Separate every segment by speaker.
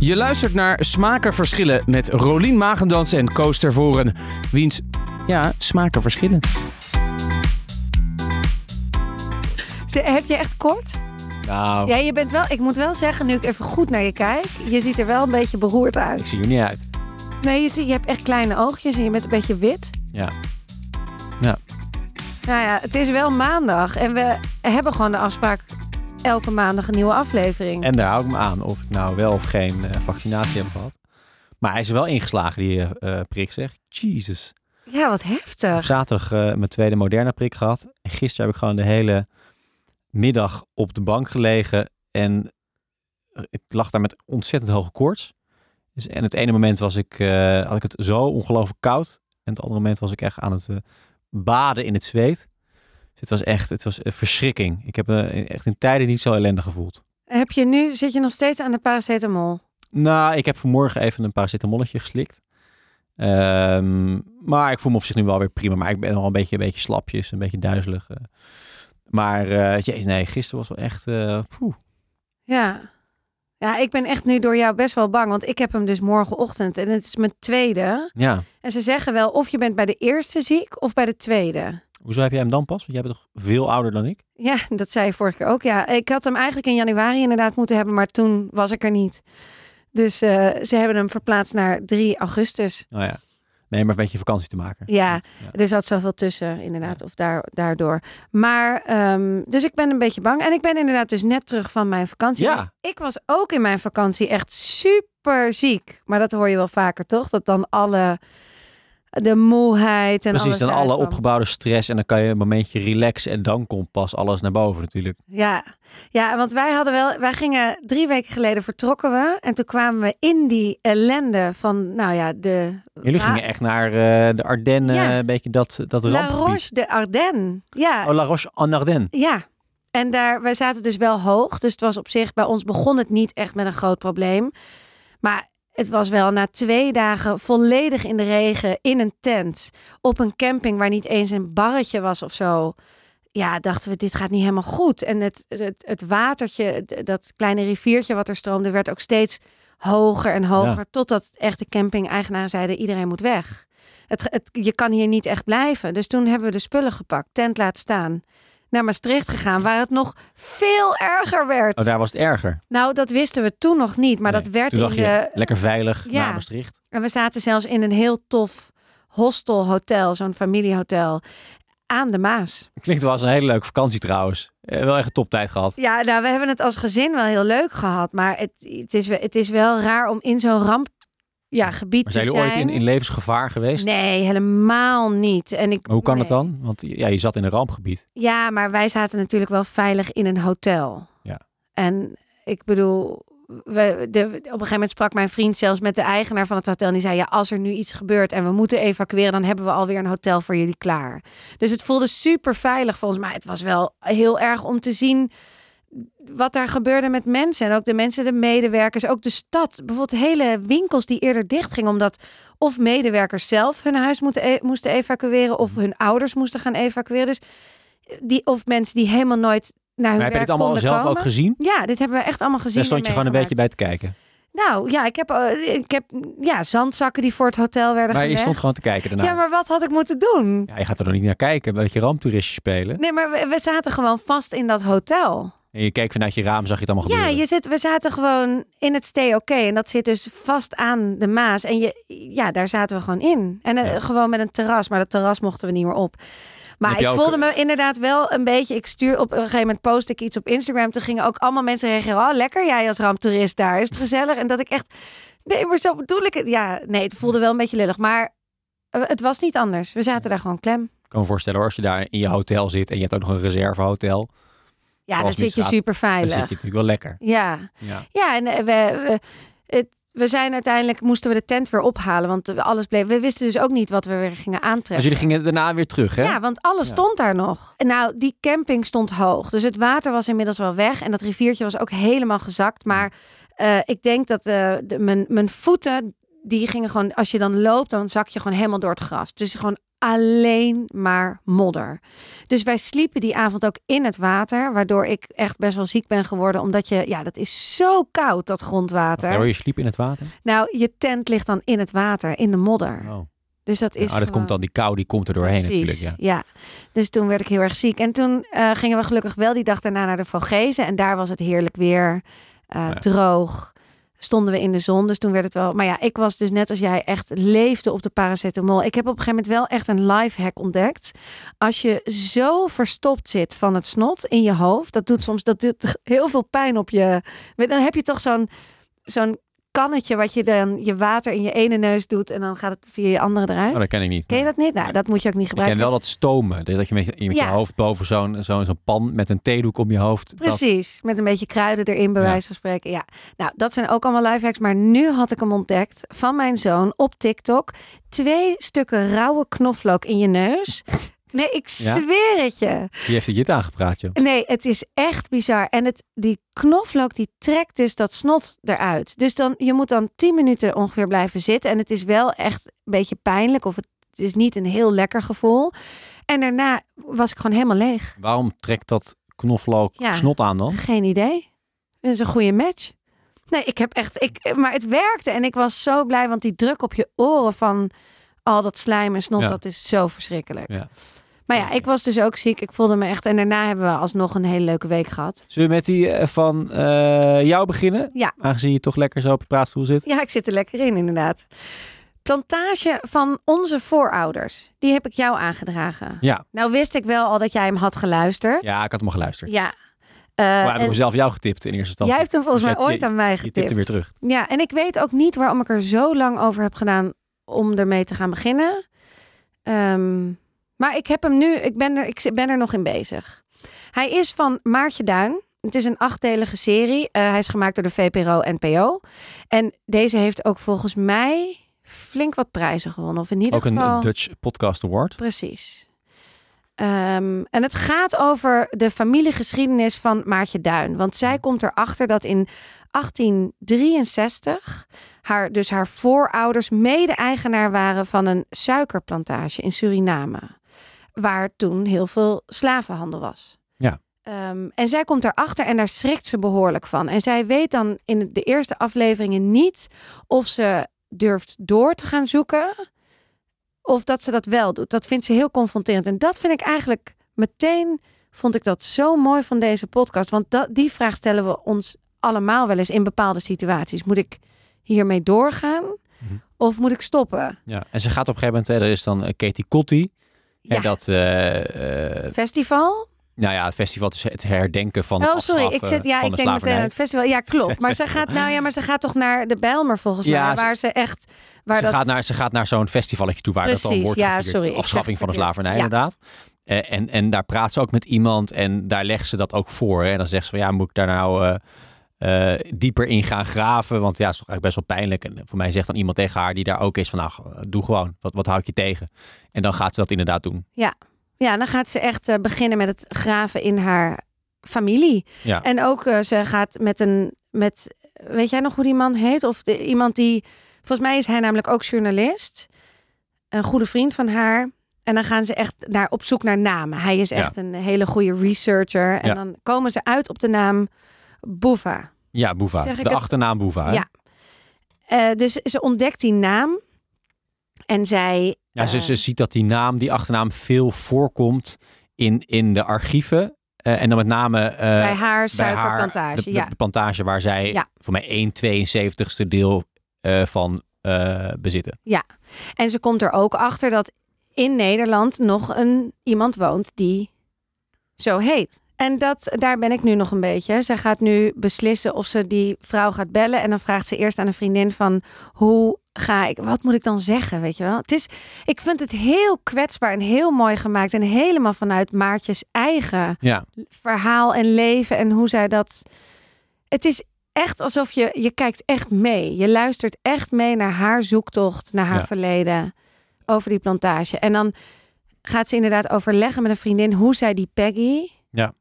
Speaker 1: Je luistert naar Smaken Verschillen met Rolien Magendans en Koos Tervoren. Wiens, ja, smaken verschillen.
Speaker 2: Ze- Heb je echt kort?
Speaker 3: Nou,
Speaker 2: Ja, je bent wel, ik moet wel zeggen, nu ik even goed naar je kijk, je ziet er wel een beetje beroerd
Speaker 3: ik
Speaker 2: uit.
Speaker 3: zie er niet uit.
Speaker 2: Nee, je, ziet, je hebt echt kleine oogjes en je bent een beetje wit.
Speaker 3: Ja.
Speaker 2: Nou ja, het is wel maandag en we hebben gewoon de afspraak elke maandag een nieuwe aflevering.
Speaker 3: En daar hou ik me aan of ik nou wel of geen eh, vaccinatie heb gehad. Maar hij is er wel ingeslagen, die eh, prik zeg. Jesus.
Speaker 2: Ja, wat
Speaker 3: Op
Speaker 2: heftig.
Speaker 3: zaterdag eh, mijn tweede Moderna prik gehad. En gisteren heb ik gewoon de hele middag op de bank gelegen. En eh, ik lag daar met ontzettend hoge koorts. Dus, en het ene moment was ik, eh, had ik het zo ongelooflijk koud. En het andere moment was ik echt aan het eh, baden in het zweet. Dus het was echt, het was een verschrikking. Ik heb me echt in tijden niet zo ellendig gevoeld.
Speaker 2: Heb je nu, zit je nog steeds aan de paracetamol?
Speaker 3: Nou, ik heb vanmorgen even een paracetamolletje geslikt. Ehm, maar ik voel me op zich nu wel weer prima. Maar ik ben wel een beetje, een beetje slapjes, een beetje duizelig. eh. Maar eh jeez, nee, gisteren was wel echt... eh, poeh.
Speaker 2: Ja. Ja, ik ben echt nu door jou best wel bang, want ik heb hem dus morgenochtend en het is mijn tweede.
Speaker 3: ja,
Speaker 2: En ze zeggen wel of je bent bij de eerste ziek of bij de tweede.
Speaker 3: hoezo heb jij hem dan pas? Want jij bent toch veel ouder dan ik?
Speaker 2: Ja, dat zei je vorige keer ook. Ja, ik had hem eigenlijk in januari inderdaad moeten hebben, maar toen was ik er niet. Dus eh, ze hebben hem verplaatst naar 3 augustus.
Speaker 3: Nou ja. Nee, maar een beetje vakantie te maken.
Speaker 2: Ja.
Speaker 3: ja.
Speaker 2: Er zat zoveel tussen, inderdaad, of daar, daardoor. Maar, ehm, dus ik ben een beetje bang. En ik ben inderdaad dus net terug van mijn vakantie.
Speaker 3: Ja.
Speaker 2: Ik was ook in mijn vakantie echt super ziek. Maar dat hoor je wel vaker, toch? Dat dan alle, de moeheid en alles
Speaker 3: Precies, dan
Speaker 2: eruit
Speaker 3: alle
Speaker 2: kwam.
Speaker 3: opgebouwde stress en dan kan je een momentje relaxen en dan komt pas alles naar boven natuurlijk.
Speaker 2: Ja. ja, want wij hadden wel, wij gingen drie weken geleden vertrokken we en toen kwamen we in die ellende van, nou ja, de
Speaker 3: Jullie
Speaker 2: Ah,
Speaker 3: gingen echt naar eh, de Ardennen,
Speaker 2: Ja.
Speaker 3: een beetje dat, dat
Speaker 2: La
Speaker 3: rampgebied.
Speaker 2: Roche de Ardennes. Ja,
Speaker 3: Oh, La Roche en Ardennen.
Speaker 2: ja. En daar, wij zaten dus wel hoog, dus het was op zich bij ons begon het niet echt met een groot probleem, maar het was wel na twee dagen volledig in de regen in een tent op een camping waar niet eens een barretje was of zo. Ja, dachten we, dit gaat niet helemaal goed. En het, het, het watertje, d- dat kleine riviertje wat er stroomde, werd ook steeds hoger en hoger.
Speaker 3: Ja.
Speaker 2: Totdat echt de camping-eigenaren zeiden, iedereen moet weg. Het, het, je kan hier niet echt blijven. Dus toen hebben we de spullen gepakt, tent laten staan. Naar Maastricht gegaan, waar het nog veel erger werd.
Speaker 3: Oh, daar was het erger.
Speaker 2: Nou, dat wisten we toen nog niet. Maar
Speaker 3: Nee,
Speaker 2: dat werd
Speaker 3: toen
Speaker 2: in
Speaker 3: dacht je,
Speaker 2: de
Speaker 3: lekker veilig
Speaker 2: Ja.
Speaker 3: naar Maastricht.
Speaker 2: en we zaten zelfs in een heel tof hostelhotel, zo'n familiehotel, aan de Maas.
Speaker 3: Klinkt wel als een hele leuke vakantie trouwens. Eh, wel echt een toptijd gehad.
Speaker 2: Ja, nou, we hebben het als gezin wel heel leuk gehad. Maar het, het, is, we- het is wel raar om in zo'n ramp ja, gebied
Speaker 3: Maar
Speaker 2: te
Speaker 3: zijn jullie ooit
Speaker 2: zijn.
Speaker 3: in, in levensgevaar geweest?
Speaker 2: Nee, helemaal niet. En ik,
Speaker 3: Maar hoe kan dat
Speaker 2: nee.
Speaker 3: dan? Want ja, je zat in een rampgebied.
Speaker 2: Ja, maar wij zaten natuurlijk wel veilig in een hotel.
Speaker 3: Ja.
Speaker 2: En ik bedoel, we, de, op een gegeven moment sprak mijn vriend zelfs met de eigenaar van het hotel. En die zei, ja, als er nu iets gebeurt en we moeten evacueren, dan hebben we alweer een hotel voor jullie klaar. Dus het voelde super veilig volgens mij. Het was wel heel erg om te zien wat daar gebeurde met mensen. En ook de mensen, de medewerkers, ook de stad. Bijvoorbeeld hele winkels die eerder dicht gingen omdat of medewerkers zelf hun huis moeten e- moesten evacueren of hun ouders moesten gaan evacueren. Dus die, of mensen die helemaal nooit naar hun
Speaker 3: Maar heb
Speaker 2: werk
Speaker 3: je dit allemaal
Speaker 2: konden
Speaker 3: zelf
Speaker 2: komen.
Speaker 3: ook gezien?
Speaker 2: Ja, dit hebben we echt allemaal gezien.
Speaker 3: Daar stond je
Speaker 2: en
Speaker 3: gewoon een beetje bij
Speaker 2: meegemaakt.
Speaker 3: te kijken.
Speaker 2: Nou ja, ik heb, eh, ik heb ja, zandzakken die voor het hotel werden
Speaker 3: Maar je
Speaker 2: gelegd.
Speaker 3: stond gewoon te kijken daarna.
Speaker 2: Ja, maar wat had ik moeten doen?
Speaker 3: Ja, je gaat er nog niet naar kijken. Een beetje ramptoeristje spelen.
Speaker 2: Nee, maar we, we zaten gewoon vast in dat hotel.
Speaker 3: En je keek vanuit je raam, zag je het allemaal
Speaker 2: Ja,
Speaker 3: gebeuren.
Speaker 2: je zit, we zaten gewoon in het stay oké. En dat zit dus vast aan de Maas. En je, ja, daar zaten we gewoon in. En eh,
Speaker 3: Ja.
Speaker 2: gewoon met een terras. Maar dat terras mochten we niet meer op. Maar
Speaker 3: Heb
Speaker 2: ik
Speaker 3: je ook-
Speaker 2: voelde me inderdaad wel een beetje... Ik stuur op een gegeven moment post ik iets op Instagram. Toen gingen ook allemaal mensen reageren. Oh, lekker jij als ramptoerist daar. Is het gezellig? En dat ik echt... Nee, maar zo bedoel ik het. Ja, nee, het voelde wel een beetje lullig. Maar eh, het was niet anders. We zaten daar gewoon klem.
Speaker 3: Ik kan me voorstellen hoor, als je daar in je hotel zit en je hebt ook nog een reservehotel.
Speaker 2: Ja,
Speaker 3: Als
Speaker 2: dan
Speaker 3: het
Speaker 2: zit
Speaker 3: niet
Speaker 2: je
Speaker 3: gaat,
Speaker 2: super
Speaker 3: Dan
Speaker 2: veilig.
Speaker 3: zit je natuurlijk wel lekker.
Speaker 2: Ja.
Speaker 3: Ja.
Speaker 2: Ja, en eh, we, we, het, we zijn uiteindelijk moesten we de tent weer ophalen, want eh, alles bleef. We wisten dus ook niet wat we weer gingen
Speaker 3: Dus
Speaker 2: aantrekken.
Speaker 3: jullie gingen daarna weer terug, hè?
Speaker 2: Ja, want alles
Speaker 3: Ja.
Speaker 2: stond daar nog. En Nou, die camping stond hoog. Dus het water was inmiddels wel weg. En dat riviertje was ook helemaal gezakt. Maar eh, ik denk dat eh, de, mijn, mijn voeten, die gingen gewoon... Als je dan loopt, dan zak je gewoon helemaal door het gras. Dus gewoon alleen maar modder. Dus wij sliepen die avond ook in het water, waardoor ik echt best wel ziek ben geworden. Omdat je, ja, dat is zo koud, dat grondwater.
Speaker 3: Waar je sliep in het water?
Speaker 2: Nou, je tent ligt dan in het water, in de modder.
Speaker 3: Oh,
Speaker 2: Dus dat is.
Speaker 3: Ja, dat
Speaker 2: gewoon-
Speaker 3: komt dan, die kou die komt er doorheen natuurlijk.
Speaker 2: Precies,
Speaker 3: Ja.
Speaker 2: Dus toen werd ik heel erg ziek. En toen eh, gingen we gelukkig wel die dag daarna naar de Vogezen. En daar was het heerlijk weer, eh,
Speaker 3: Ja.
Speaker 2: droog. Stonden we in de zon, dus toen werd het wel... Maar ja, ik was dus net als jij echt leefde op de paracetamol. Ik heb op een gegeven moment wel echt een lifehack ontdekt. Als je zo verstopt zit van het snot in je hoofd... dat doet soms dat doet heel veel pijn op je... Dan heb je toch zo'n zo'n kannetje wat je dan je water in je ene neus doet... en dan gaat het via je andere eruit.
Speaker 3: Oh, dat ken ik niet.
Speaker 2: Ken je dat niet? Nou, dat moet je ook niet
Speaker 3: Ik ken
Speaker 2: gebruiken.
Speaker 3: wel dat stomen. Dus Dat je met je, met je
Speaker 2: Ja.
Speaker 3: hoofd boven zo'n zo'n- zo'n pan met een theedoek om je hoofd. dat-
Speaker 2: Precies, met een beetje kruiden erin, bij
Speaker 3: Ja.
Speaker 2: wijze van spreken. Ja, nou, dat zijn ook allemaal lifehacks. Maar nu had ik hem ontdekt van mijn zoon op TikTok. Twee stukken rauwe knoflook in je neus. Nee, ik
Speaker 3: Ja?
Speaker 2: zweer het je.
Speaker 3: die heeft je jit aangepraat, joh.
Speaker 2: Nee, het is echt bizar. En het, die knoflook die trekt dus dat snot eruit. Dus dan, je moet dan 10 minuten ongeveer blijven zitten. En het is wel echt een beetje pijnlijk. Of het is niet een heel lekker gevoel. En daarna was ik gewoon helemaal leeg.
Speaker 3: Waarom trekt dat knoflook
Speaker 2: Ja.
Speaker 3: snot aan dan?
Speaker 2: Geen idee. Dat is een goede match. Nee, ik heb echt. Ik, maar het werkte. En ik was zo blij, want die druk op je oren van al dat slijm en snot,
Speaker 3: Ja.
Speaker 2: dat is zo verschrikkelijk.
Speaker 3: Ja.
Speaker 2: Maar ja, ik was dus ook ziek. Ik voelde me echt. En daarna hebben we alsnog een hele leuke week gehad.
Speaker 3: Zullen we met die eh, van eh, jou beginnen?
Speaker 2: Ja.
Speaker 3: Aangezien je toch lekker zo op je praatstoel zit.
Speaker 2: Ja, ik zit er lekker in, inderdaad. Plantage van onze voorouders. Die heb ik jou aangedragen.
Speaker 3: Ja.
Speaker 2: Nou wist ik wel al dat jij hem had geluisterd.
Speaker 3: Ja, ik had hem al geluisterd.
Speaker 2: ja.
Speaker 3: Maar
Speaker 2: Eh,
Speaker 3: heb ik
Speaker 2: en
Speaker 3: mezelf jou getipt in eerste instantie.
Speaker 2: jij hebt hem volgens
Speaker 3: Dus
Speaker 2: mij
Speaker 3: jij-
Speaker 2: ooit aan mij
Speaker 3: je tipt
Speaker 2: getipt.
Speaker 3: hem weer terug.
Speaker 2: Ja, en ik weet ook niet waarom ik er zo lang over heb gedaan om ermee te gaan beginnen. Ehm, maar ik heb hem nu, ik ben, er, ik ben er nog in bezig. Hij is van Maartje Duin. Het is een achtdelige serie. Eh, hij is gemaakt door de VPRO-NPO. En deze heeft ook volgens mij flink wat prijzen gewonnen. Of in ieder
Speaker 3: Ook een
Speaker 2: geval...
Speaker 3: eh, Dutch Podcast Award.
Speaker 2: Precies. Ehm, en het gaat over de familiegeschiedenis van Maartje Duin. Want zij komt erachter dat in 1863 haar, dus haar voorouders mede-eigenaar waren van een suikerplantage in Suriname. Waar toen heel veel slavenhandel was.
Speaker 3: Ja.
Speaker 2: Ehm, en zij komt erachter en daar schrikt ze behoorlijk van. En zij weet dan in de eerste afleveringen niet of ze durft door te gaan zoeken of dat ze dat wel doet. Dat vindt ze heel confronterend. En dat vind ik eigenlijk meteen, vond ik dat zo mooi van deze podcast. Want dat, die vraag stellen we ons allemaal wel eens in bepaalde situaties. Moet ik hiermee doorgaan?
Speaker 3: Mhm.
Speaker 2: Of moet ik stoppen?
Speaker 3: Ja. En ze gaat op een gegeven moment, hè, er is dan eh, Katie Cotty.
Speaker 2: Ja,
Speaker 3: En dat, eh, eh,
Speaker 2: festival?
Speaker 3: nou ja, het festival is het herdenken van het
Speaker 2: Oh, sorry.
Speaker 3: afschaffen
Speaker 2: Ik, zit, ja,
Speaker 3: van
Speaker 2: ik
Speaker 3: de
Speaker 2: denk meteen aan
Speaker 3: slavernij.
Speaker 2: het festival. Ja, klopt. Maar ze gaat, nou ja, maar ze gaat toch naar de Bijlmer volgens
Speaker 3: Ja,
Speaker 2: mij.
Speaker 3: ze-
Speaker 2: Waar ze echt... Waar
Speaker 3: ze,
Speaker 2: dat,
Speaker 3: gaat naar, ze gaat naar zo'n festivalletje toe waar dat dan
Speaker 2: Precies,
Speaker 3: wordt
Speaker 2: ja,
Speaker 3: gevierd.
Speaker 2: sorry, ik
Speaker 3: Afschaffing
Speaker 2: zeg
Speaker 3: van de
Speaker 2: het
Speaker 3: slavernij,
Speaker 2: verkeerd.
Speaker 3: inderdaad. Eh, En, en daar praat ze ook met iemand en daar legt ze dat ook voor. Hè. En dan zegt ze van ja, moet ik daar nou eh, eh, dieper in gaan graven? Want ja, het is toch eigenlijk best wel pijnlijk. En voor mij zegt dan iemand tegen haar die daar ook is van nou, doe gewoon. Wat, wat houd je tegen? En dan gaat ze dat inderdaad doen.
Speaker 2: Ja, dan gaat ze echt eh, beginnen met het graven in haar familie.
Speaker 3: Ja.
Speaker 2: En ook eh, ze gaat met een. Met, weet jij nog hoe die man heet? Of de, iemand die. Volgens mij is hij namelijk ook journalist. Een goede vriend van haar. En dan gaan ze echt naar, op zoek naar namen. Hij is echt een hele goede researcher. En
Speaker 3: Ja.
Speaker 2: dan komen ze uit op de naam Boeva.
Speaker 3: Ja, Boeva.
Speaker 2: Zeg ik
Speaker 3: De
Speaker 2: het-
Speaker 3: achternaam Boeva. hè?
Speaker 2: Ja. Eh, dus ze ontdekt die naam. En zij.
Speaker 3: Ja, ze,
Speaker 2: Eh.
Speaker 3: ze ziet dat die naam, die achternaam, veel voorkomt in, in de archieven. Eh, en dan met name eh,
Speaker 2: bij haar
Speaker 3: bij haar,
Speaker 2: suikerplantage.
Speaker 3: de, de-
Speaker 2: ja.
Speaker 3: de plantage waar zij
Speaker 2: Ja.
Speaker 3: voor mij 1 72ste deel eh, van eh, bezitten.
Speaker 2: En ze komt er ook achter dat in Nederland nog een iemand woont die zo heet. En dat, daar ben ik nu nog een beetje. Zij gaat nu beslissen of ze die vrouw gaat bellen. En dan vraagt ze eerst aan een vriendin van hoe ga ik, wat moet ik dan zeggen, weet je wel. Het is, ik vind het heel kwetsbaar en heel mooi gemaakt. En helemaal vanuit Maartjes eigen
Speaker 3: Ja,
Speaker 2: verhaal en leven en hoe zij dat. Het is echt alsof je je kijkt echt mee. Je luistert echt mee naar haar zoektocht, naar haar
Speaker 3: Ja.
Speaker 2: verleden over die plantage. En dan gaat ze inderdaad overleggen met een vriendin hoe zij die Peggy,
Speaker 3: Ja.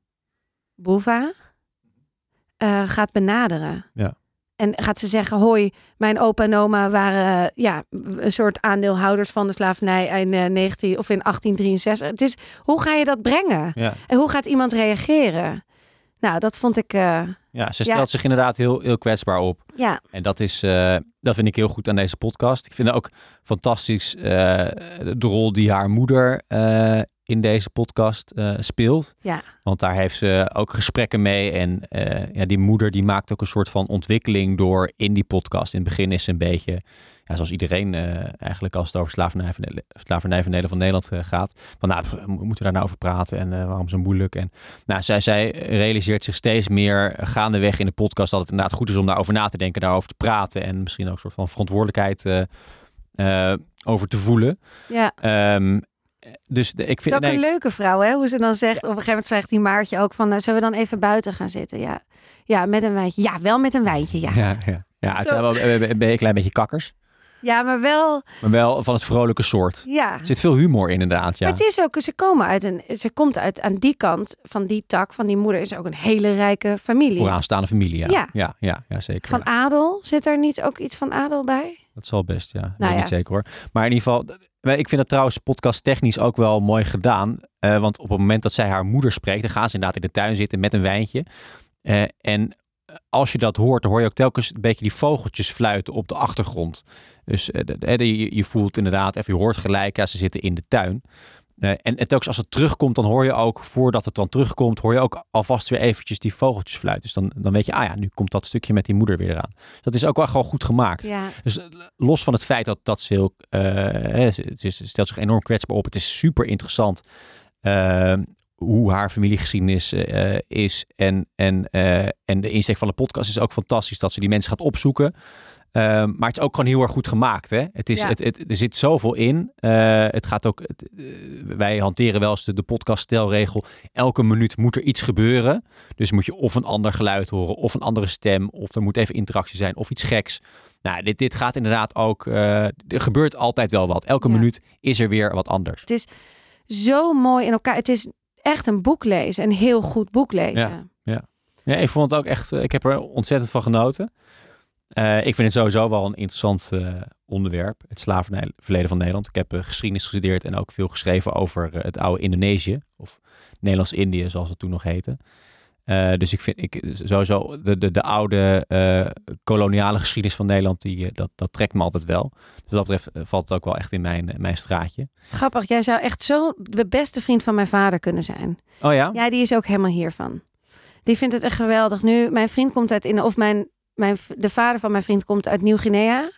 Speaker 2: Boeva, eh, gaat benaderen.
Speaker 3: Ja.
Speaker 2: En gaat ze zeggen, hoi, mijn opa en oma waren eh, ja, een soort aandeelhouders van de slavernij in, eh, 19, of in 1863. Het is, hoe ga je dat brengen?
Speaker 3: Ja.
Speaker 2: En hoe gaat iemand reageren? Nou, dat vond ik, eh,
Speaker 3: ja, ze
Speaker 2: Ja.
Speaker 3: stelt zich inderdaad heel, heel kwetsbaar op.
Speaker 2: ja,
Speaker 3: En dat, is, eh, dat vind ik heel goed aan deze podcast. Ik vind ook fantastisch eh, de rol die haar moeder eh, in deze podcast eh, speelt.
Speaker 2: Ja.
Speaker 3: Want daar heeft ze ook gesprekken mee. En eh, ja, die moeder die maakt ook een soort van ontwikkeling door in die podcast. In het begin is ze een beetje, ja, zoals iedereen eh, eigenlijk als het over slavernij van, slavernij van Nederland van Nederland eh, gaat. Van nou, pff, mo- moeten we daar nou over praten en eh, waarom zo moeilijk? En nou, zij, zij realiseert zich steeds meer gaandeweg in de podcast dat het inderdaad goed is om daarover na te denken, daarover te praten en misschien ook een soort van verantwoordelijkheid eh, eh, over te voelen.
Speaker 2: ja.
Speaker 3: Ehm, dus de- ik
Speaker 2: Het is
Speaker 3: vind.
Speaker 2: ook
Speaker 3: nee,
Speaker 2: een leuke vrouw, hè? Hoe ze dan zegt, op een gegeven moment zegt die Maartje ook van, nou, zullen we dan even buiten gaan zitten? Ja, ja met een wijntje. Ja, wel met een wijntje, ja.
Speaker 3: ja, ja. ja, het
Speaker 2: Zo.
Speaker 3: zijn wel een, een- een klein beetje kakkers,
Speaker 2: Ja, maar wel,
Speaker 3: maar wel van het vrolijke soort.
Speaker 2: ja.
Speaker 3: Er zit veel humor in, inderdaad. Ja.
Speaker 2: Maar het is ook, ze komen uit een, ze komt uit aan die kant van die tak van die moeder is ook een hele rijke familie.
Speaker 3: Vooraanstaande familie. Ja,
Speaker 2: Ja.
Speaker 3: ja. ja, ja, zeker.
Speaker 2: Van adel, zit er niet ook iets van adel bij?
Speaker 3: Dat zal best, ja.
Speaker 2: Nou
Speaker 3: Weet
Speaker 2: ja.
Speaker 3: niet zeker hoor. Maar in ieder geval, d- maar ik vind dat trouwens podcast technisch ook wel mooi gedaan. Eh, want op het moment dat zij haar moeder spreekt, dan gaan ze inderdaad in de tuin zitten met een wijntje. Eh, en als je dat hoort, dan hoor je ook telkens een beetje die vogeltjes fluiten op de achtergrond. Dus eh, de- de- je, je voelt inderdaad, of je hoort gelijk, ja, ze zitten in de tuin. Eh, en, en telkens als het terugkomt, dan hoor je ook, voordat het dan terugkomt, hoor je ook alvast weer eventjes die vogeltjes fluiten. Dus dan, dan weet je, ah ja, nu komt dat stukje met die moeder weer eraan. Dus dat is ook wel gewoon goed gemaakt.
Speaker 2: Ja.
Speaker 3: Dus eh, los van het feit dat, dat ze heel, eh, hè, ze, ze- ze stelt zich enorm kwetsbaar op. Het is super interessant eh, hoe haar familiegeschiedenis eh, is. En, en, eh, en de insteek van de podcast is ook fantastisch dat ze die mensen gaat opzoeken. Eh, maar het is ook gewoon heel erg goed gemaakt. Hè? Het is,
Speaker 2: Ja.
Speaker 3: het, het, er zit zoveel in. Eh, het gaat ook, het, eh, wij hanteren wel eens de, de podcaststelregel. Elke minuut moet er iets gebeuren. Dus moet je of een ander geluid horen, of een andere stem, of er moet even interactie zijn, of iets geks. Nou, dit, dit gaat inderdaad ook. eh, er gebeurt altijd wel wat. Elke
Speaker 2: Ja.
Speaker 3: minuut is er weer wat anders.
Speaker 2: Zo mooi in elkaar. Het is echt een boek lezen, een heel goed boek lezen.
Speaker 3: Ja, ik vond het ook echt. eh, Ik heb er ontzettend van genoten. Eh, ik vind het sowieso wel een interessant eh, onderwerp. Het slavernijverleden van Nederland. Ik heb eh, geschiedenis gestudeerd en ook veel geschreven over eh, het oude Indonesië. Of Nederlands-Indië, zoals het toen nog heette. Eh, dus ik vind ik, sowieso de, de, de oude eh, koloniale geschiedenis van Nederland, die, eh, dat, dat trekt me altijd wel. Dus wat dat betreft eh, valt het ook wel echt in mijn, eh, mijn straatje.
Speaker 2: Grappig, jij zou echt zo de beste vriend van mijn vader kunnen zijn.
Speaker 3: Oh ja?
Speaker 2: Ja, die is ook helemaal hiervan. Die vindt het echt geweldig. Nu, mijn vriend komt uit, in, of mijn, mijn, de vader van mijn vriend komt uit Nieuw-Guinea,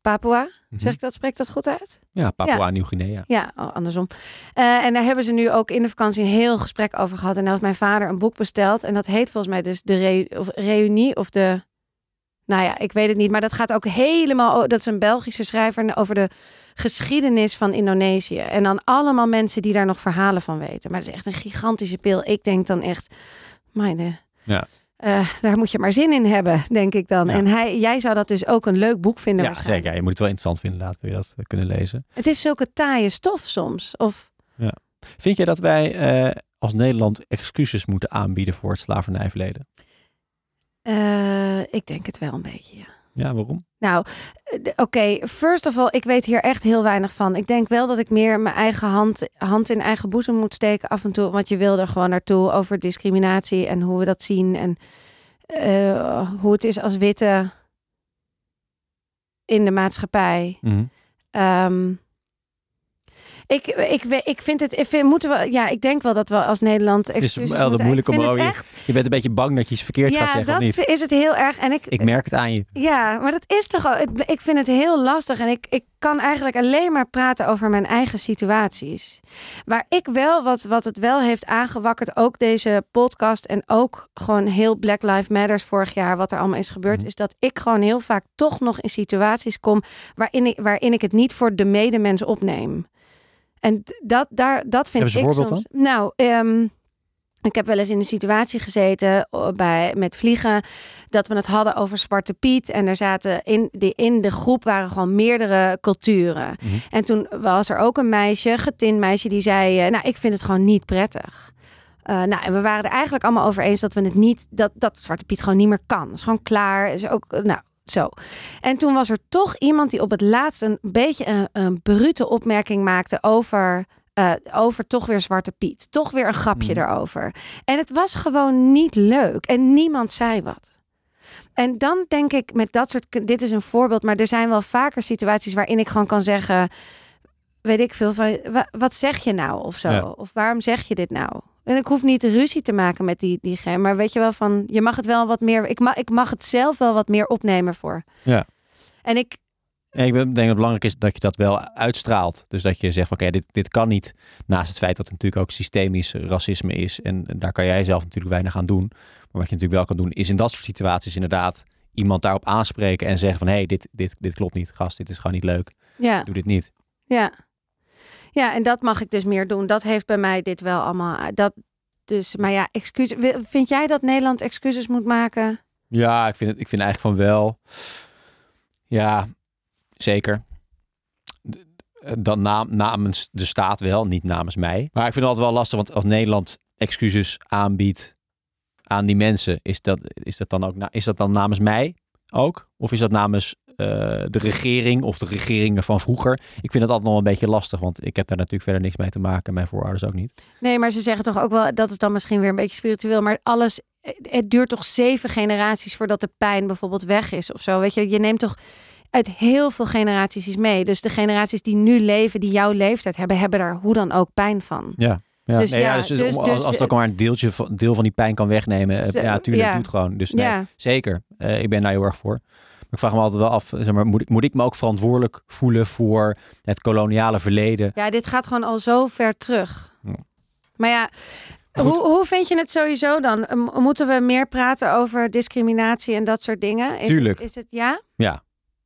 Speaker 2: Papua. Zeg ik dat, spreek ik dat goed uit?
Speaker 3: Mhm. Ja, Papua Nieuw-Guinea.
Speaker 2: Ja, oh, andersom. Eh, en daar hebben ze nu ook in de vakantie een heel gesprek over gehad. En daar heeft mijn vader een boek besteld. En dat heet volgens mij dus de reu- of reunie of de... Nou ja, ik weet het niet. Maar dat gaat ook helemaal... o- Dat is een Belgische schrijver en over de geschiedenis van Indonesië. En dan allemaal mensen die daar nog verhalen van weten. Maar dat is echt een gigantische pil. Ik denk dan echt... Mijn,
Speaker 3: Ja.
Speaker 2: daar moet je maar zin in hebben, denk ik dan.
Speaker 3: Ja.
Speaker 2: En hij, jij zou dat dus ook een leuk boek vinden
Speaker 3: Ja,
Speaker 2: waarschijnlijk.
Speaker 3: zeker. Ja, je moet het wel interessant vinden, laat wil je dat eh, kunnen lezen.
Speaker 2: Het is zulke taaie stof soms. Of
Speaker 3: Vind jij dat wij eh, als Nederland excuses moeten aanbieden voor het slavernijverleden?
Speaker 2: Eh, ik denk het wel een beetje, ja.
Speaker 3: Ja, waarom?
Speaker 2: Nou, eh, d- oké, first of all, ik weet hier echt heel weinig van. Ik denk wel dat ik meer mijn eigen hand, hand in eigen boezem moet steken af en toe. Want je wil er gewoon naartoe over discriminatie en hoe we dat zien. En eh, hoe het is als witte in de maatschappij.
Speaker 3: Mhm.
Speaker 2: Ehm, ik, ik, we- ik vind het, ik vind, moeten we, ja, ik denk wel dat we als Nederland.
Speaker 3: is
Speaker 2: excuses
Speaker 3: altijd
Speaker 2: moeten- ik
Speaker 3: moeilijk om
Speaker 2: vind het
Speaker 3: er ook-
Speaker 2: echt.
Speaker 3: Je bent een beetje bang dat je iets verkeerds gaat
Speaker 2: Ja,
Speaker 3: zeggen
Speaker 2: dat
Speaker 3: of niet.
Speaker 2: is het heel erg. En ik,
Speaker 3: Ik merk het aan je.
Speaker 2: ja, maar dat is toch al. het- Ik vind het heel lastig en ik, ik kan eigenlijk alleen maar praten over mijn eigen situaties. Waar ik wel, wat, wat het wel heeft aangewakkerd, ook deze podcast en ook gewoon heel Black Lives Matters vorig jaar, wat er allemaal is gebeurd,
Speaker 3: Mhm.
Speaker 2: is dat ik gewoon heel vaak toch nog in situaties kom waarin ik, waarin ik het niet voor de medemens opneem. En d- dat, daar, dat vind
Speaker 3: Heb je een
Speaker 2: ik
Speaker 3: voorbeeld
Speaker 2: soms. Nou, ehm, ik heb wel eens in een situatie gezeten oh, bij, met vliegen dat we het hadden over Zwarte Piet. En er zaten in, die, in de groep waren gewoon meerdere culturen.
Speaker 3: Mhm.
Speaker 2: En toen was er ook een meisje, getint meisje, die zei: eh, Nou, ik vind het gewoon niet prettig. Eh, nou, en we waren er eigenlijk allemaal over eens dat we het niet, dat, dat Zwarte Piet gewoon niet meer kan. Het is gewoon klaar. Is ook, eh, nou, zo. En toen was er toch iemand die op het laatst een beetje een, een brute opmerking maakte over, eh, over toch weer Zwarte Piet. Toch weer een grapje
Speaker 3: Mm.
Speaker 2: erover. En het was gewoon niet leuk. En niemand zei wat. En dan denk ik met dat soort. Dit is een voorbeeld, maar er zijn wel vaker situaties waarin ik gewoon kan zeggen. Weet ik veel van. wa- Wat zeg je nou of zo?
Speaker 3: Ja.
Speaker 2: Of waarom zeg je dit nou? En ik hoef niet ruzie te maken met die, diegene. Maar weet je wel van. Je mag het wel wat meer. Ik, ma, ik mag het zelf wel wat meer opnemen voor.
Speaker 3: Ja.
Speaker 2: En ik.
Speaker 3: En ik denk dat het belangrijk is dat je dat wel uitstraalt. Dus dat je zegt, van, oké, dit, dit kan niet. Naast het feit dat het natuurlijk ook systemisch racisme is. En daar kan jij zelf natuurlijk weinig aan doen. Maar wat je natuurlijk wel kan doen, is in dat soort situaties inderdaad iemand daarop aanspreken en zeggen van, hé, hey, dit, dit, dit klopt niet, gast. Dit is gewoon niet leuk.
Speaker 2: Ja.
Speaker 3: Doe dit niet.
Speaker 2: Ja. Ja, en dat mag ik dus meer doen. Dat heeft bij mij dit wel allemaal. eh, Dat, dus, maar ja, excuus. wi- Vind jij dat Nederland excuses moet maken?
Speaker 3: Ja, ik vind, het, ik vind eigenlijk van wel. Ja, zeker. D- d- Dan nam- namens de staat wel, niet namens mij. Maar ik vind het altijd wel lastig, want als Nederland excuses aanbiedt aan die mensen, is dat, is dat, dan, ook na, is dat dan namens mij ook? Of is dat namens eh, de regering of de regeringen van vroeger? Ik vind het altijd nog wel een beetje lastig, want ik heb daar natuurlijk verder niks mee te maken. Mijn voorouders ook niet.
Speaker 2: Nee, maar ze zeggen toch ook wel dat is dan misschien weer een beetje spiritueel. Maar alles, het duurt toch zeven generaties voordat de pijn bijvoorbeeld weg is of zo. Weet je, je neemt toch uit heel veel generaties iets mee. Dus de generaties die nu leven, die jouw leeftijd hebben, hebben daar hoe dan ook pijn van.
Speaker 3: Ja. Ja,
Speaker 2: Dus
Speaker 3: nee,
Speaker 2: ja,
Speaker 3: ja, dus, dus
Speaker 2: dus-
Speaker 3: om-
Speaker 2: dus-
Speaker 3: als, als het ook maar een deeltje van, deel van die pijn kan wegnemen, eh,
Speaker 2: Ze-
Speaker 3: ja, tuurlijk,
Speaker 2: ja.
Speaker 3: doe het gewoon. Dus nee,
Speaker 2: Ja.
Speaker 3: zeker. Eh, ik ben daar heel erg voor. Maar ik vraag me altijd wel af, zeg maar, moet, ik, moet ik me ook verantwoordelijk voelen voor het koloniale verleden?
Speaker 2: Ja, dit gaat gewoon al zo ver terug.
Speaker 3: Ja.
Speaker 2: Maar ja,
Speaker 3: goed.
Speaker 2: hoe, hoe vind je het sowieso dan? M- Moeten we meer praten over discriminatie en dat soort dingen? Is
Speaker 3: Tuurlijk.
Speaker 2: Het, is het ja?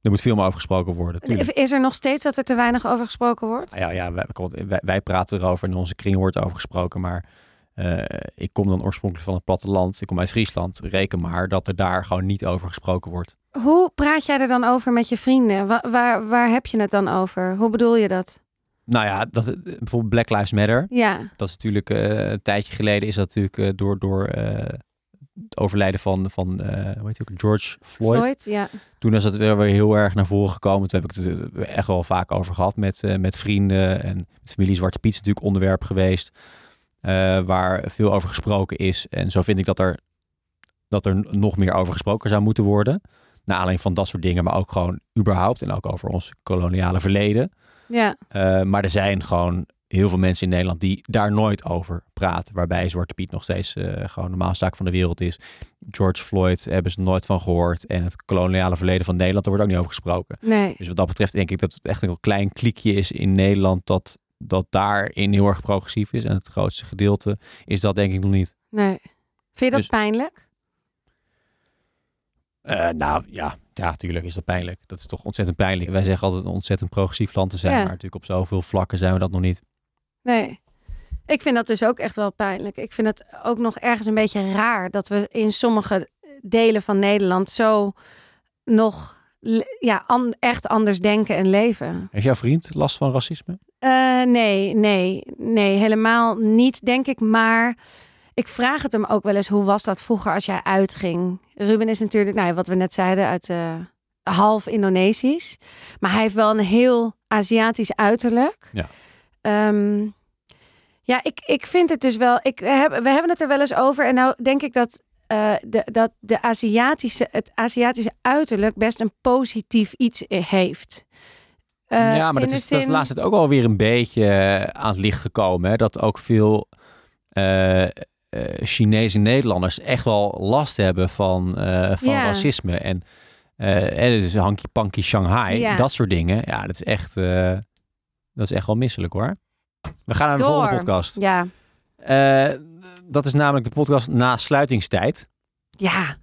Speaker 3: Er moet veel meer over gesproken worden, tuurlijk. Nou
Speaker 2: Is er nog steeds dat er te weinig over gesproken wordt?
Speaker 3: Ja, ja wij, eh, wij, wij praten erover en in onze kring wordt over gesproken. Maar eh, ik kom dan oorspronkelijk van het platteland. Ik kom uit Friesland. Reken maar dat er daar gewoon niet over gesproken wordt.
Speaker 2: Hoe praat jij er dan over met je vrienden? Wa- waar, waar heb je het dan over? Hoe bedoel je dat?
Speaker 3: Nou ja, dat, bijvoorbeeld Black Lives Matter.
Speaker 2: Ja,
Speaker 3: Dat is natuurlijk eh, een tijdje geleden is dat natuurlijk eh, door, door eh, het overlijden van, van eh, hoe heet hij ook, George Floyd.
Speaker 2: Floyd? Ja.
Speaker 3: Toen is dat weer, weer heel erg naar voren gekomen. Toen heb ik het er echt wel vaak over gehad met, eh, met vrienden en met familie Zwarte Piet is natuurlijk onderwerp geweest. eh, waar veel over gesproken is. En zo vind ik dat er, dat er nog meer over gesproken zou moeten worden. Naar aanleiding van dat soort dingen, maar ook gewoon überhaupt. En ook over ons koloniale verleden.
Speaker 2: ja.
Speaker 3: Eh, maar er zijn gewoon heel veel mensen in Nederland die daar nooit over praten. Waarbij Zwarte Piet nog steeds eh, gewoon de zaak van de wereld is. George Floyd hebben ze nooit van gehoord. En het koloniale verleden van Nederland, daar wordt ook niet over gesproken.
Speaker 2: Nee.
Speaker 3: Dus wat dat betreft denk ik dat het echt een heel klein kliekje is in Nederland dat, dat daarin heel erg progressief is. En het grootste gedeelte is dat denk ik nog niet.
Speaker 2: Nee. Vind je dat
Speaker 3: Dus-
Speaker 2: pijnlijk?
Speaker 3: Eh, nou ja, ja, tuurlijk is dat pijnlijk. Dat is toch ontzettend pijnlijk. Wij zeggen altijd een ontzettend progressief land te zijn.
Speaker 2: Ja.
Speaker 3: Maar natuurlijk op zoveel vlakken zijn we dat nog niet.
Speaker 2: Nee. Ik vind dat dus ook echt wel pijnlijk. Ik vind het ook nog ergens een beetje raar dat we in sommige delen van Nederland zo nog le- ja, an- echt anders denken en leven.
Speaker 3: Heeft jouw vriend last van racisme?
Speaker 2: Eh, nee, nee, nee, helemaal niet, denk ik. Maar ik vraag het hem ook wel eens: hoe was dat vroeger als jij uitging? Ruben is natuurlijk, nou, ja, wat we net zeiden, uit eh, half Indonesisch. Maar hij heeft wel een heel Aziatisch uiterlijk.
Speaker 3: Ja.
Speaker 2: Ehm, ja, ik, ik vind het dus wel. Ik, heb, we hebben het er wel eens over. En nou denk ik dat, eh, de, dat de Aziatische, het Aziatische uiterlijk best een positief iets heeft. Eh,
Speaker 3: ja, maar
Speaker 2: in
Speaker 3: dat
Speaker 2: de
Speaker 3: is, dat is
Speaker 2: zin-
Speaker 3: laatst ook alweer een beetje eh, aan het licht gekomen. Hè? Dat ook veel eh, eh, Chinese Nederlanders echt wel last hebben van, eh, van
Speaker 2: Ja.
Speaker 3: racisme. En eh, eh, dus hanky-panky Shanghai,
Speaker 2: Ja.
Speaker 3: dat soort dingen. Ja, dat is echt, eh, dat is echt wel misselijk hoor. We gaan naar de
Speaker 2: Door.
Speaker 3: volgende podcast.
Speaker 2: Ja,
Speaker 3: Eh, dat is namelijk de podcast na sluitingstijd.
Speaker 2: ja.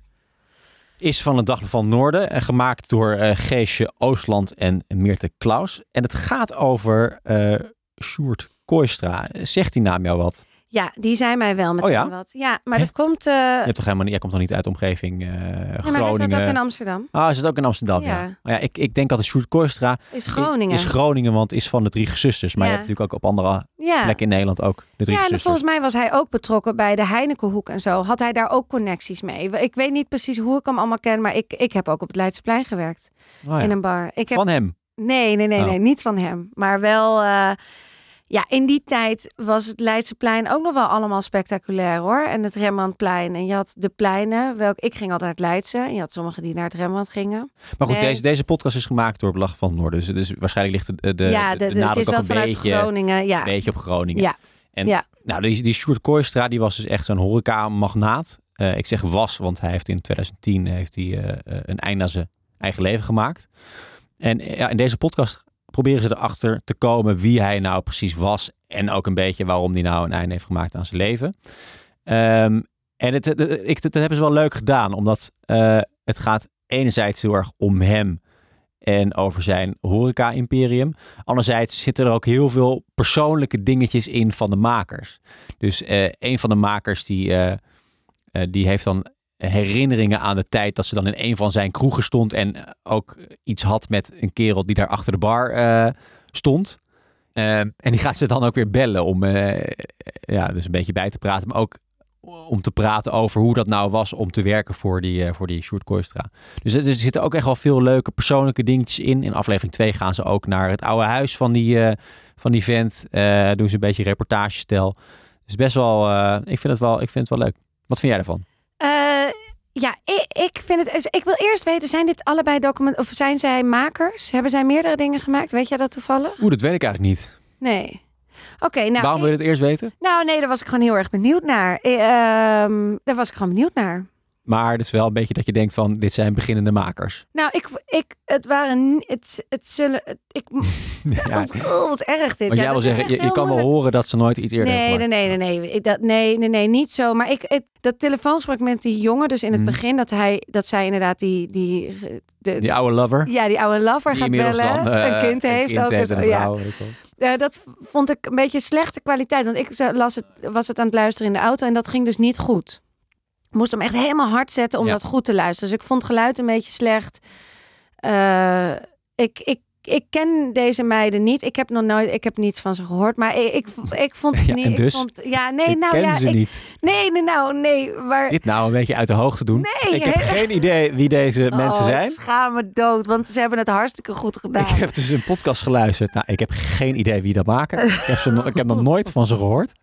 Speaker 3: is van het Dagblad van het Noorden. En gemaakt door eh, Geesje Oostland en Meerte Klaus. En het gaat over eh Sjoerd Kooistra. Zegt die naam jou wat?
Speaker 2: Ja, die zijn mij wel meteen
Speaker 3: Oh ja?
Speaker 2: wat. Ja, maar
Speaker 3: Hè?
Speaker 2: dat komt... eh
Speaker 3: Je hebt toch helemaal niet, jij komt toch niet uit de omgeving eh
Speaker 2: ja, maar hij zat ook
Speaker 3: Groningen?
Speaker 2: in Amsterdam.
Speaker 3: Ah, is het ook in Amsterdam? Ja.
Speaker 2: Ja.
Speaker 3: Maar ja, ik, ik denk altijd Sjoerd Korstra
Speaker 2: Is Groningen.
Speaker 3: is Groningen, want is van de drie gezusters. Maar
Speaker 2: Ja.
Speaker 3: je hebt natuurlijk ook op andere
Speaker 2: ja.
Speaker 3: plekken in Nederland ook de drie
Speaker 2: Ja, en
Speaker 3: gezusters.
Speaker 2: volgens mij was hij ook betrokken bij de Heinekenhoek en zo. Had hij daar ook connecties mee? Ik weet niet precies hoe ik hem allemaal ken, maar ik, ik heb ook op het Leidseplein gewerkt.
Speaker 3: Oh ja.
Speaker 2: In een bar. Ik heb
Speaker 3: Van hem.
Speaker 2: Nee, nee, nee,
Speaker 3: Oh.
Speaker 2: nee, niet van hem. Maar wel, eh, ja, in die tijd was het Leidseplein ook nog wel allemaal spectaculair hoor. En het Rembrandtplein. En je had de pleinen, welk, ik ging altijd naar het Leidse. En je had sommigen die naar het Rembrandt gingen.
Speaker 3: Maar goed,
Speaker 2: Nee.
Speaker 3: deze, deze podcast is gemaakt door Belag van het Noorden. Dus, dus waarschijnlijk ligt de, de,
Speaker 2: ja,
Speaker 3: de,
Speaker 2: de- de- het
Speaker 3: nadruk
Speaker 2: is
Speaker 3: ook
Speaker 2: wel
Speaker 3: een
Speaker 2: vanuit
Speaker 3: beetje,
Speaker 2: Groningen. Ja,
Speaker 3: beetje op Groningen.
Speaker 2: Ja.
Speaker 3: En
Speaker 2: Ja.
Speaker 3: nou, die, die Sjoerd Kooistra, die was dus echt zo'n horeca-magnaat. Eh, ik zeg was, want hij heeft in 2010 heeft hij, eh, eh, een einde aan zijn eigen leven gemaakt. En eh, ja, in deze podcast proberen ze erachter te komen wie hij nou precies was. En ook een beetje waarom hij nou een einde heeft gemaakt aan zijn leven. Ehm, en het, het- het- ik, dat hebben ze wel leuk gedaan, omdat eh, het gaat enerzijds heel erg om hem en over zijn horeca-imperium. Anderzijds zitten er ook heel veel persoonlijke dingetjes in van de makers. Dus eh, een van de makers die, eh, eh, die heeft dan herinneringen aan de tijd dat ze dan in een van zijn kroegen stond en eh, ook iets had met een kerel die daar achter de bar eh, stond. Eh, en die gaat ze dan ook weer bellen om eh, ja, dus een beetje bij te praten, maar ook om te praten over hoe dat nou was om te werken voor die, eh, voor die Sjoerd Kooistra. Dus er er zitten ook echt wel veel leuke persoonlijke dingetjes in. In aflevering 2 gaan ze ook naar het oude huis van die, eh, van die vent. Eh, doen ze een beetje reportagestel. Dus best wel, eh, ik, vind het wel ik vind het wel leuk. Wat vind jij ervan?
Speaker 2: Eh, ja, ik, ik vind het. Ik wil eerst weten, zijn dit allebei documenten. Of zijn zij makers? Hebben zij meerdere dingen gemaakt? Weet jij dat toevallig?
Speaker 3: Oeh, dat weet ik eigenlijk niet.
Speaker 2: Nee. Oké, nou.
Speaker 3: Waarom wil je het eerst weten?
Speaker 2: ik- nou, nee, daar was ik gewoon heel erg benieuwd naar. Eh, ehm, daar was ik gewoon benieuwd naar.
Speaker 3: Maar het is wel een beetje dat je denkt van, dit zijn beginnende makers.
Speaker 2: Nou, ik, ik, het waren, ni- het, het zullen, het- ik,
Speaker 3: Ja.
Speaker 2: wat, oh, wat erg dit.
Speaker 3: Maar
Speaker 2: Ja,
Speaker 3: jij wil
Speaker 2: dat is
Speaker 3: zeggen,
Speaker 2: echt
Speaker 3: je, je
Speaker 2: heel
Speaker 3: kan wel
Speaker 2: moeilijk.
Speaker 3: horen dat ze nooit iets eerder
Speaker 2: Nee,
Speaker 3: hebben
Speaker 2: nee,
Speaker 3: gemaakt.
Speaker 2: nee, nee, nee, Ik- dat, nee, nee, nee, niet zo. Maar ik, het, dat telefoongesprek met die jongen, dus in het
Speaker 3: Mhm.
Speaker 2: begin, dat hij, dat zij inderdaad die, die, de,
Speaker 3: Die oude lover.
Speaker 2: ja, die oude lover
Speaker 3: die
Speaker 2: gaat
Speaker 3: inmiddels
Speaker 2: bellen,
Speaker 3: dan, eh,
Speaker 2: een kind heeft ook,
Speaker 3: heeft
Speaker 2: het-
Speaker 3: en een
Speaker 2: ja,
Speaker 3: vrouw, weet ik wel.
Speaker 2: eh, dat v- vond ik een beetje slechte kwaliteit. Want ik za- las het, was het aan het luisteren in de auto en dat ging dus niet goed. Ik moest hem echt helemaal hard zetten om
Speaker 3: Ja.
Speaker 2: dat goed te luisteren. Dus ik vond het geluid een beetje slecht. Eh, ik, ik, ik ken deze meiden niet. Ik heb nog nooit, ik heb niets van ze gehoord. Maar ik, ik, v- ik vond het
Speaker 3: Ja,
Speaker 2: niet.
Speaker 3: en
Speaker 2: ik
Speaker 3: dus?
Speaker 2: vond- ja, nee,
Speaker 3: ik
Speaker 2: nou
Speaker 3: ken
Speaker 2: ja.
Speaker 3: ze
Speaker 2: ik-
Speaker 3: niet.
Speaker 2: Nee, nee, nou, nee. Maar,
Speaker 3: Dit nou een beetje uit de hoogte doen.
Speaker 2: Nee,
Speaker 3: ik heb
Speaker 2: hè?
Speaker 3: geen idee wie deze mensen
Speaker 2: Oh,
Speaker 3: zijn.
Speaker 2: ik Schaam me dood, want ze hebben het hartstikke goed gedaan.
Speaker 3: Ik heb dus een podcast geluisterd. Nou, ik heb geen idee wie dat maken. Ik heb, ze, no- ik heb nog nooit van ze gehoord.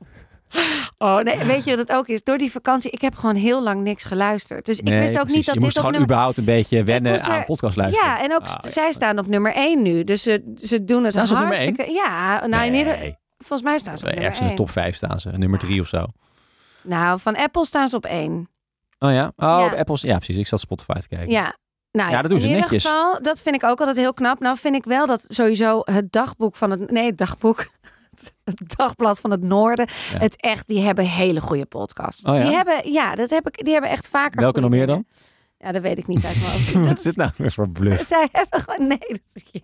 Speaker 2: Oh, nee, weet je wat het ook is? Door die vakantie, ik heb gewoon heel lang niks geluisterd. Dus
Speaker 3: Nee,
Speaker 2: ik wist ook
Speaker 3: precies.
Speaker 2: niet dat
Speaker 3: je
Speaker 2: dit
Speaker 3: moest
Speaker 2: op
Speaker 3: gewoon
Speaker 2: nummer...
Speaker 3: überhaupt een beetje wennen
Speaker 2: moest
Speaker 3: aan
Speaker 2: er-
Speaker 3: podcast luisteren.
Speaker 2: Ja, en ook
Speaker 3: Ah,
Speaker 2: s- zij staan op nummer 1 nu. Dus ze, ze doen het
Speaker 3: Staan ze op nummer
Speaker 2: hartstikke... ja, nou, in
Speaker 3: nee,
Speaker 2: ieder- volgens mij staan ze op nummer
Speaker 3: ergens in de
Speaker 2: 1.
Speaker 3: top 5 staan ze. Nummer 3 of zo.
Speaker 2: Nou, van Apple staan ze op 1.
Speaker 3: Oh ja? Oh,
Speaker 2: Ja.
Speaker 3: de Apple's. Ja, precies. Ik zat Spotify te kijken.
Speaker 2: Ja. Nou,
Speaker 3: Ja, dat doen ze
Speaker 2: in ieder
Speaker 3: netjes.
Speaker 2: Geval, dat vind ik ook altijd heel knap. Nou vind ik wel dat sowieso het dagboek van het... Nee, het dagboek... Het dagblad van het Noorden.
Speaker 3: Ja.
Speaker 2: Het echt, die hebben hele goede podcasts.
Speaker 3: Oh ja?
Speaker 2: Die hebben, ja, dat heb ik, die hebben echt vaker.
Speaker 3: Welke nog
Speaker 2: goede
Speaker 3: meer dan?
Speaker 2: dingen. Ja, dat weet ik niet uit mijn hoofd. Dat
Speaker 3: Wat
Speaker 2: is-
Speaker 3: is dit nou weer voor bluff?
Speaker 2: Zij hebben gewoon. Nee. dat-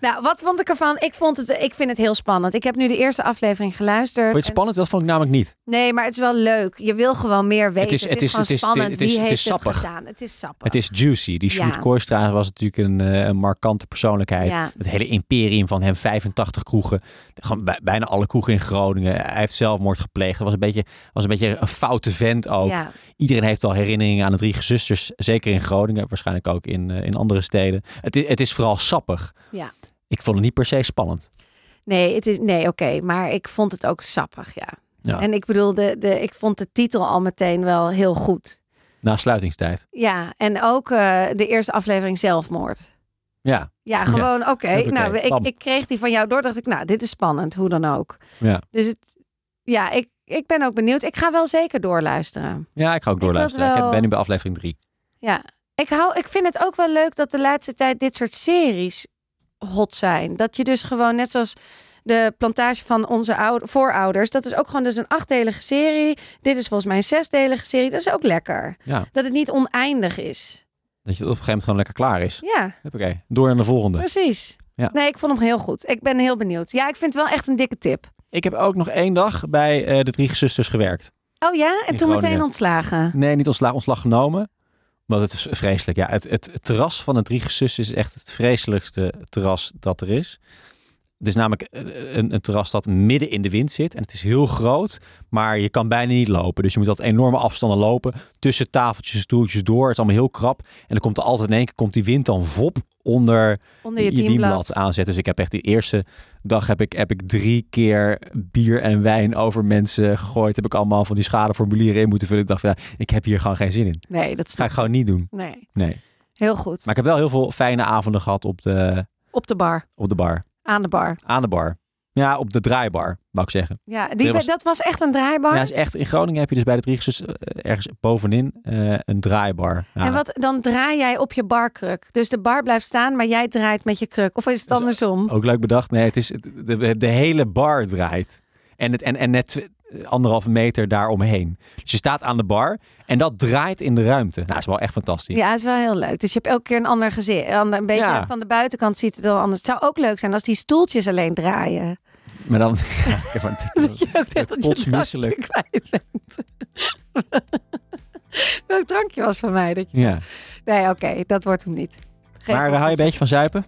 Speaker 2: nou, wat vond ik ervan? Ik, vond het, ik vind het heel spannend. Ik heb nu de eerste aflevering geluisterd.
Speaker 3: Vond je het
Speaker 2: En-
Speaker 3: spannend? Dat vond ik namelijk niet.
Speaker 2: nee, maar het is wel leuk. Je wil gewoon meer weten. Het
Speaker 3: is-
Speaker 2: is,
Speaker 3: het is-
Speaker 2: gewoon
Speaker 3: het is-
Speaker 2: spannend.
Speaker 3: het is-
Speaker 2: Wie
Speaker 3: het
Speaker 2: heeft
Speaker 3: is sappig.
Speaker 2: het gedaan? Het is sappig.
Speaker 3: Het is juicy. Die Sjoerd
Speaker 2: Ja.
Speaker 3: Kooistra was natuurlijk een, eh, een markante persoonlijkheid.
Speaker 2: Ja.
Speaker 3: Het hele imperium van hem, 85 kroegen. Gewoon bij- bijna alle kroegen in Groningen. Hij heeft zelfmoord gepleegd. Dat was een beetje, was een, beetje een foute vent ook.
Speaker 2: Ja.
Speaker 3: Iedereen heeft al herinneringen aan de drie gezusters. Zeker in Groningen, waarschijnlijk ook in, eh, in andere steden. Het is, het is vooral sappig.
Speaker 2: Ja.
Speaker 3: Ik vond het niet per se spannend.
Speaker 2: Nee, het is, nee oké. maar ik vond het ook sappig, ja.
Speaker 3: Ja.
Speaker 2: En ik bedoel, de, de, ik vond de titel al meteen wel heel goed.
Speaker 3: Na sluitingstijd.
Speaker 2: Ja, en ook eh, de eerste aflevering Zelfmoord.
Speaker 3: Ja.
Speaker 2: Ja, gewoon oké.
Speaker 3: Huppakee,
Speaker 2: Nou,
Speaker 3: bam.
Speaker 2: ik, ik kreeg die van jou door. Dacht ik, nou, dit is spannend, hoe dan ook.
Speaker 3: Ja.
Speaker 2: Dus het, ja, ik, ik ben ook benieuwd. Ik ga wel zeker doorluisteren.
Speaker 3: ja, ik ga ook
Speaker 2: wil
Speaker 3: doorluisteren. Ik,
Speaker 2: wel-
Speaker 3: ben nu bij aflevering 3.
Speaker 2: Ja, ik, hou, ik vind het ook wel leuk dat de laatste tijd dit soort series hot zijn. Dat je dus gewoon, net zoals de plantage van onze oude, voorouders, dat is ook gewoon dus een achtdelige serie. Dit is volgens mij een zesdelige serie. Dat is ook lekker.
Speaker 3: Ja.
Speaker 2: Dat het niet oneindig is.
Speaker 3: Dat je op een gegeven moment gewoon lekker klaar is.
Speaker 2: Ja.
Speaker 3: Oké, door naar de volgende.
Speaker 2: Precies.
Speaker 3: Ja.
Speaker 2: Nee, ik vond hem heel goed. Ik ben heel benieuwd. Ja, ik vind het wel echt een dikke tip.
Speaker 3: Ik heb ook nog één dag bij eh, de drie zusters gewerkt.
Speaker 2: Oh ja, en
Speaker 3: In
Speaker 2: toen meteen
Speaker 3: Groningen.
Speaker 2: ontslagen.
Speaker 3: Nee, niet ontslag, ontslag genomen. Omdat het is vreselijk. Ja, het, het, het terras van de drie zusters is echt het vreselijkste terras dat er is. Het is namelijk eh, een, een terras dat midden in de wind zit. En het is heel groot, maar je kan bijna niet lopen. Dus je moet altijd enorme afstanden lopen. Tussen tafeltjes, stoeltjes door. Het is allemaal heel krap. En dan komt er altijd in één keer komt die wind dan vop onder
Speaker 2: Onder je,
Speaker 3: je dienblad
Speaker 2: teamblad.
Speaker 3: aanzet. Dus ik heb echt die eerste dag heb ik, heb ik drie keer bier en wijn over mensen gegooid. Heb ik allemaal van die schadeformulieren in moeten vullen. Ik dacht van, ja, ik heb hier gewoon geen zin in.
Speaker 2: Nee, dat
Speaker 3: Ga
Speaker 2: snap
Speaker 3: ik gewoon niet doen.
Speaker 2: Nee,
Speaker 3: Nee.
Speaker 2: heel goed.
Speaker 3: Maar ik heb wel heel veel fijne avonden gehad op de,
Speaker 2: Op de bar,
Speaker 3: op de bar.
Speaker 2: aan de bar.
Speaker 3: Aan de bar. Ja, op de draaibar, wou ik zeggen.
Speaker 2: Ja, die,
Speaker 3: Dit was-
Speaker 2: dat was echt een draaibar.
Speaker 3: Ja, is echt, in Groningen heb je dus bij de Driegezus eh, ergens bovenin eh, een draaibar. Nou,
Speaker 2: En wat, dan draai jij op je barkruk. Dus de bar blijft staan, maar jij draait met je kruk. Of is het
Speaker 3: Dus-
Speaker 2: andersom?
Speaker 3: Ook leuk bedacht. Nee, het is de, de, de hele bar draait. En, het, en, en net tw- anderhalve meter daaromheen. Dus je staat aan de bar en dat draait in de ruimte. Nou, dat is wel echt fantastisch.
Speaker 2: Ja, het is wel heel leuk. Dus je hebt elke keer een ander gezicht. Een ander- een beetje
Speaker 3: Ja.
Speaker 2: van de buitenkant ziet het dan anders. Het zou ook leuk zijn als die stoeltjes alleen draaien.
Speaker 3: Maar dan... Ja, ik heb maar-
Speaker 2: Dat je ook net dat je drankje
Speaker 3: Kotsmisselijk.
Speaker 2: kwijt bent. Welk drankje was van mij? Dat je...
Speaker 3: ja.
Speaker 2: Nee, oké, dat wordt hem niet. Geef
Speaker 3: Maar eh,
Speaker 2: ons
Speaker 3: hou je een
Speaker 2: een-
Speaker 3: beetje van zuipen?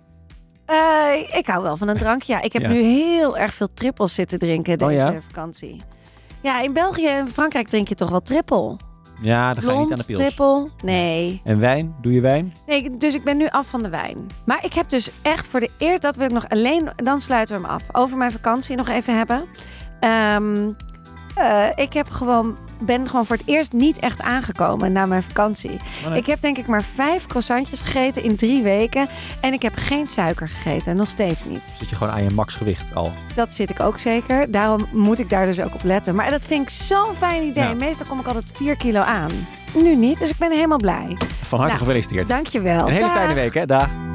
Speaker 2: Eh, ik hou wel van een drankje. Ja, ik heb
Speaker 3: Ja.
Speaker 2: nu heel erg veel trippels zitten drinken
Speaker 3: Oh,
Speaker 2: deze
Speaker 3: ja?
Speaker 2: vakantie. Ja, in België en Frankrijk drink je toch wel trippel?
Speaker 3: Ja, dan ga je niet aan de
Speaker 2: Blond,
Speaker 3: pils.
Speaker 2: trippel? Nee.
Speaker 3: En wijn? Doe je wijn?
Speaker 2: nee. Dus ik ben nu af van de wijn. Maar ik heb dus echt voor de eerst, dat wil ik nog alleen, dan sluiten we hem af. Over mijn vakantie nog even hebben. Ehm, eh, ik heb gewoon, ben gewoon voor het eerst niet echt aangekomen na mijn vakantie.
Speaker 3: Oh, nee.
Speaker 2: Ik heb denk ik maar vijf croissantjes gegeten in drie weken. En ik heb geen suiker gegeten, nog steeds niet.
Speaker 3: Zit je gewoon aan je maxgewicht al?
Speaker 2: Dat zit ik ook zeker. Daarom moet ik daar dus ook op letten. Maar dat vind ik zo'n fijn idee.
Speaker 3: Ja.
Speaker 2: Meestal kom ik altijd 4 kilo aan. Nu niet, dus ik ben helemaal blij.
Speaker 3: Van harte
Speaker 2: Nou,
Speaker 3: gefeliciteerd.
Speaker 2: Dankjewel.
Speaker 3: Een hele
Speaker 2: Dag.
Speaker 3: fijne week, hè? Dag.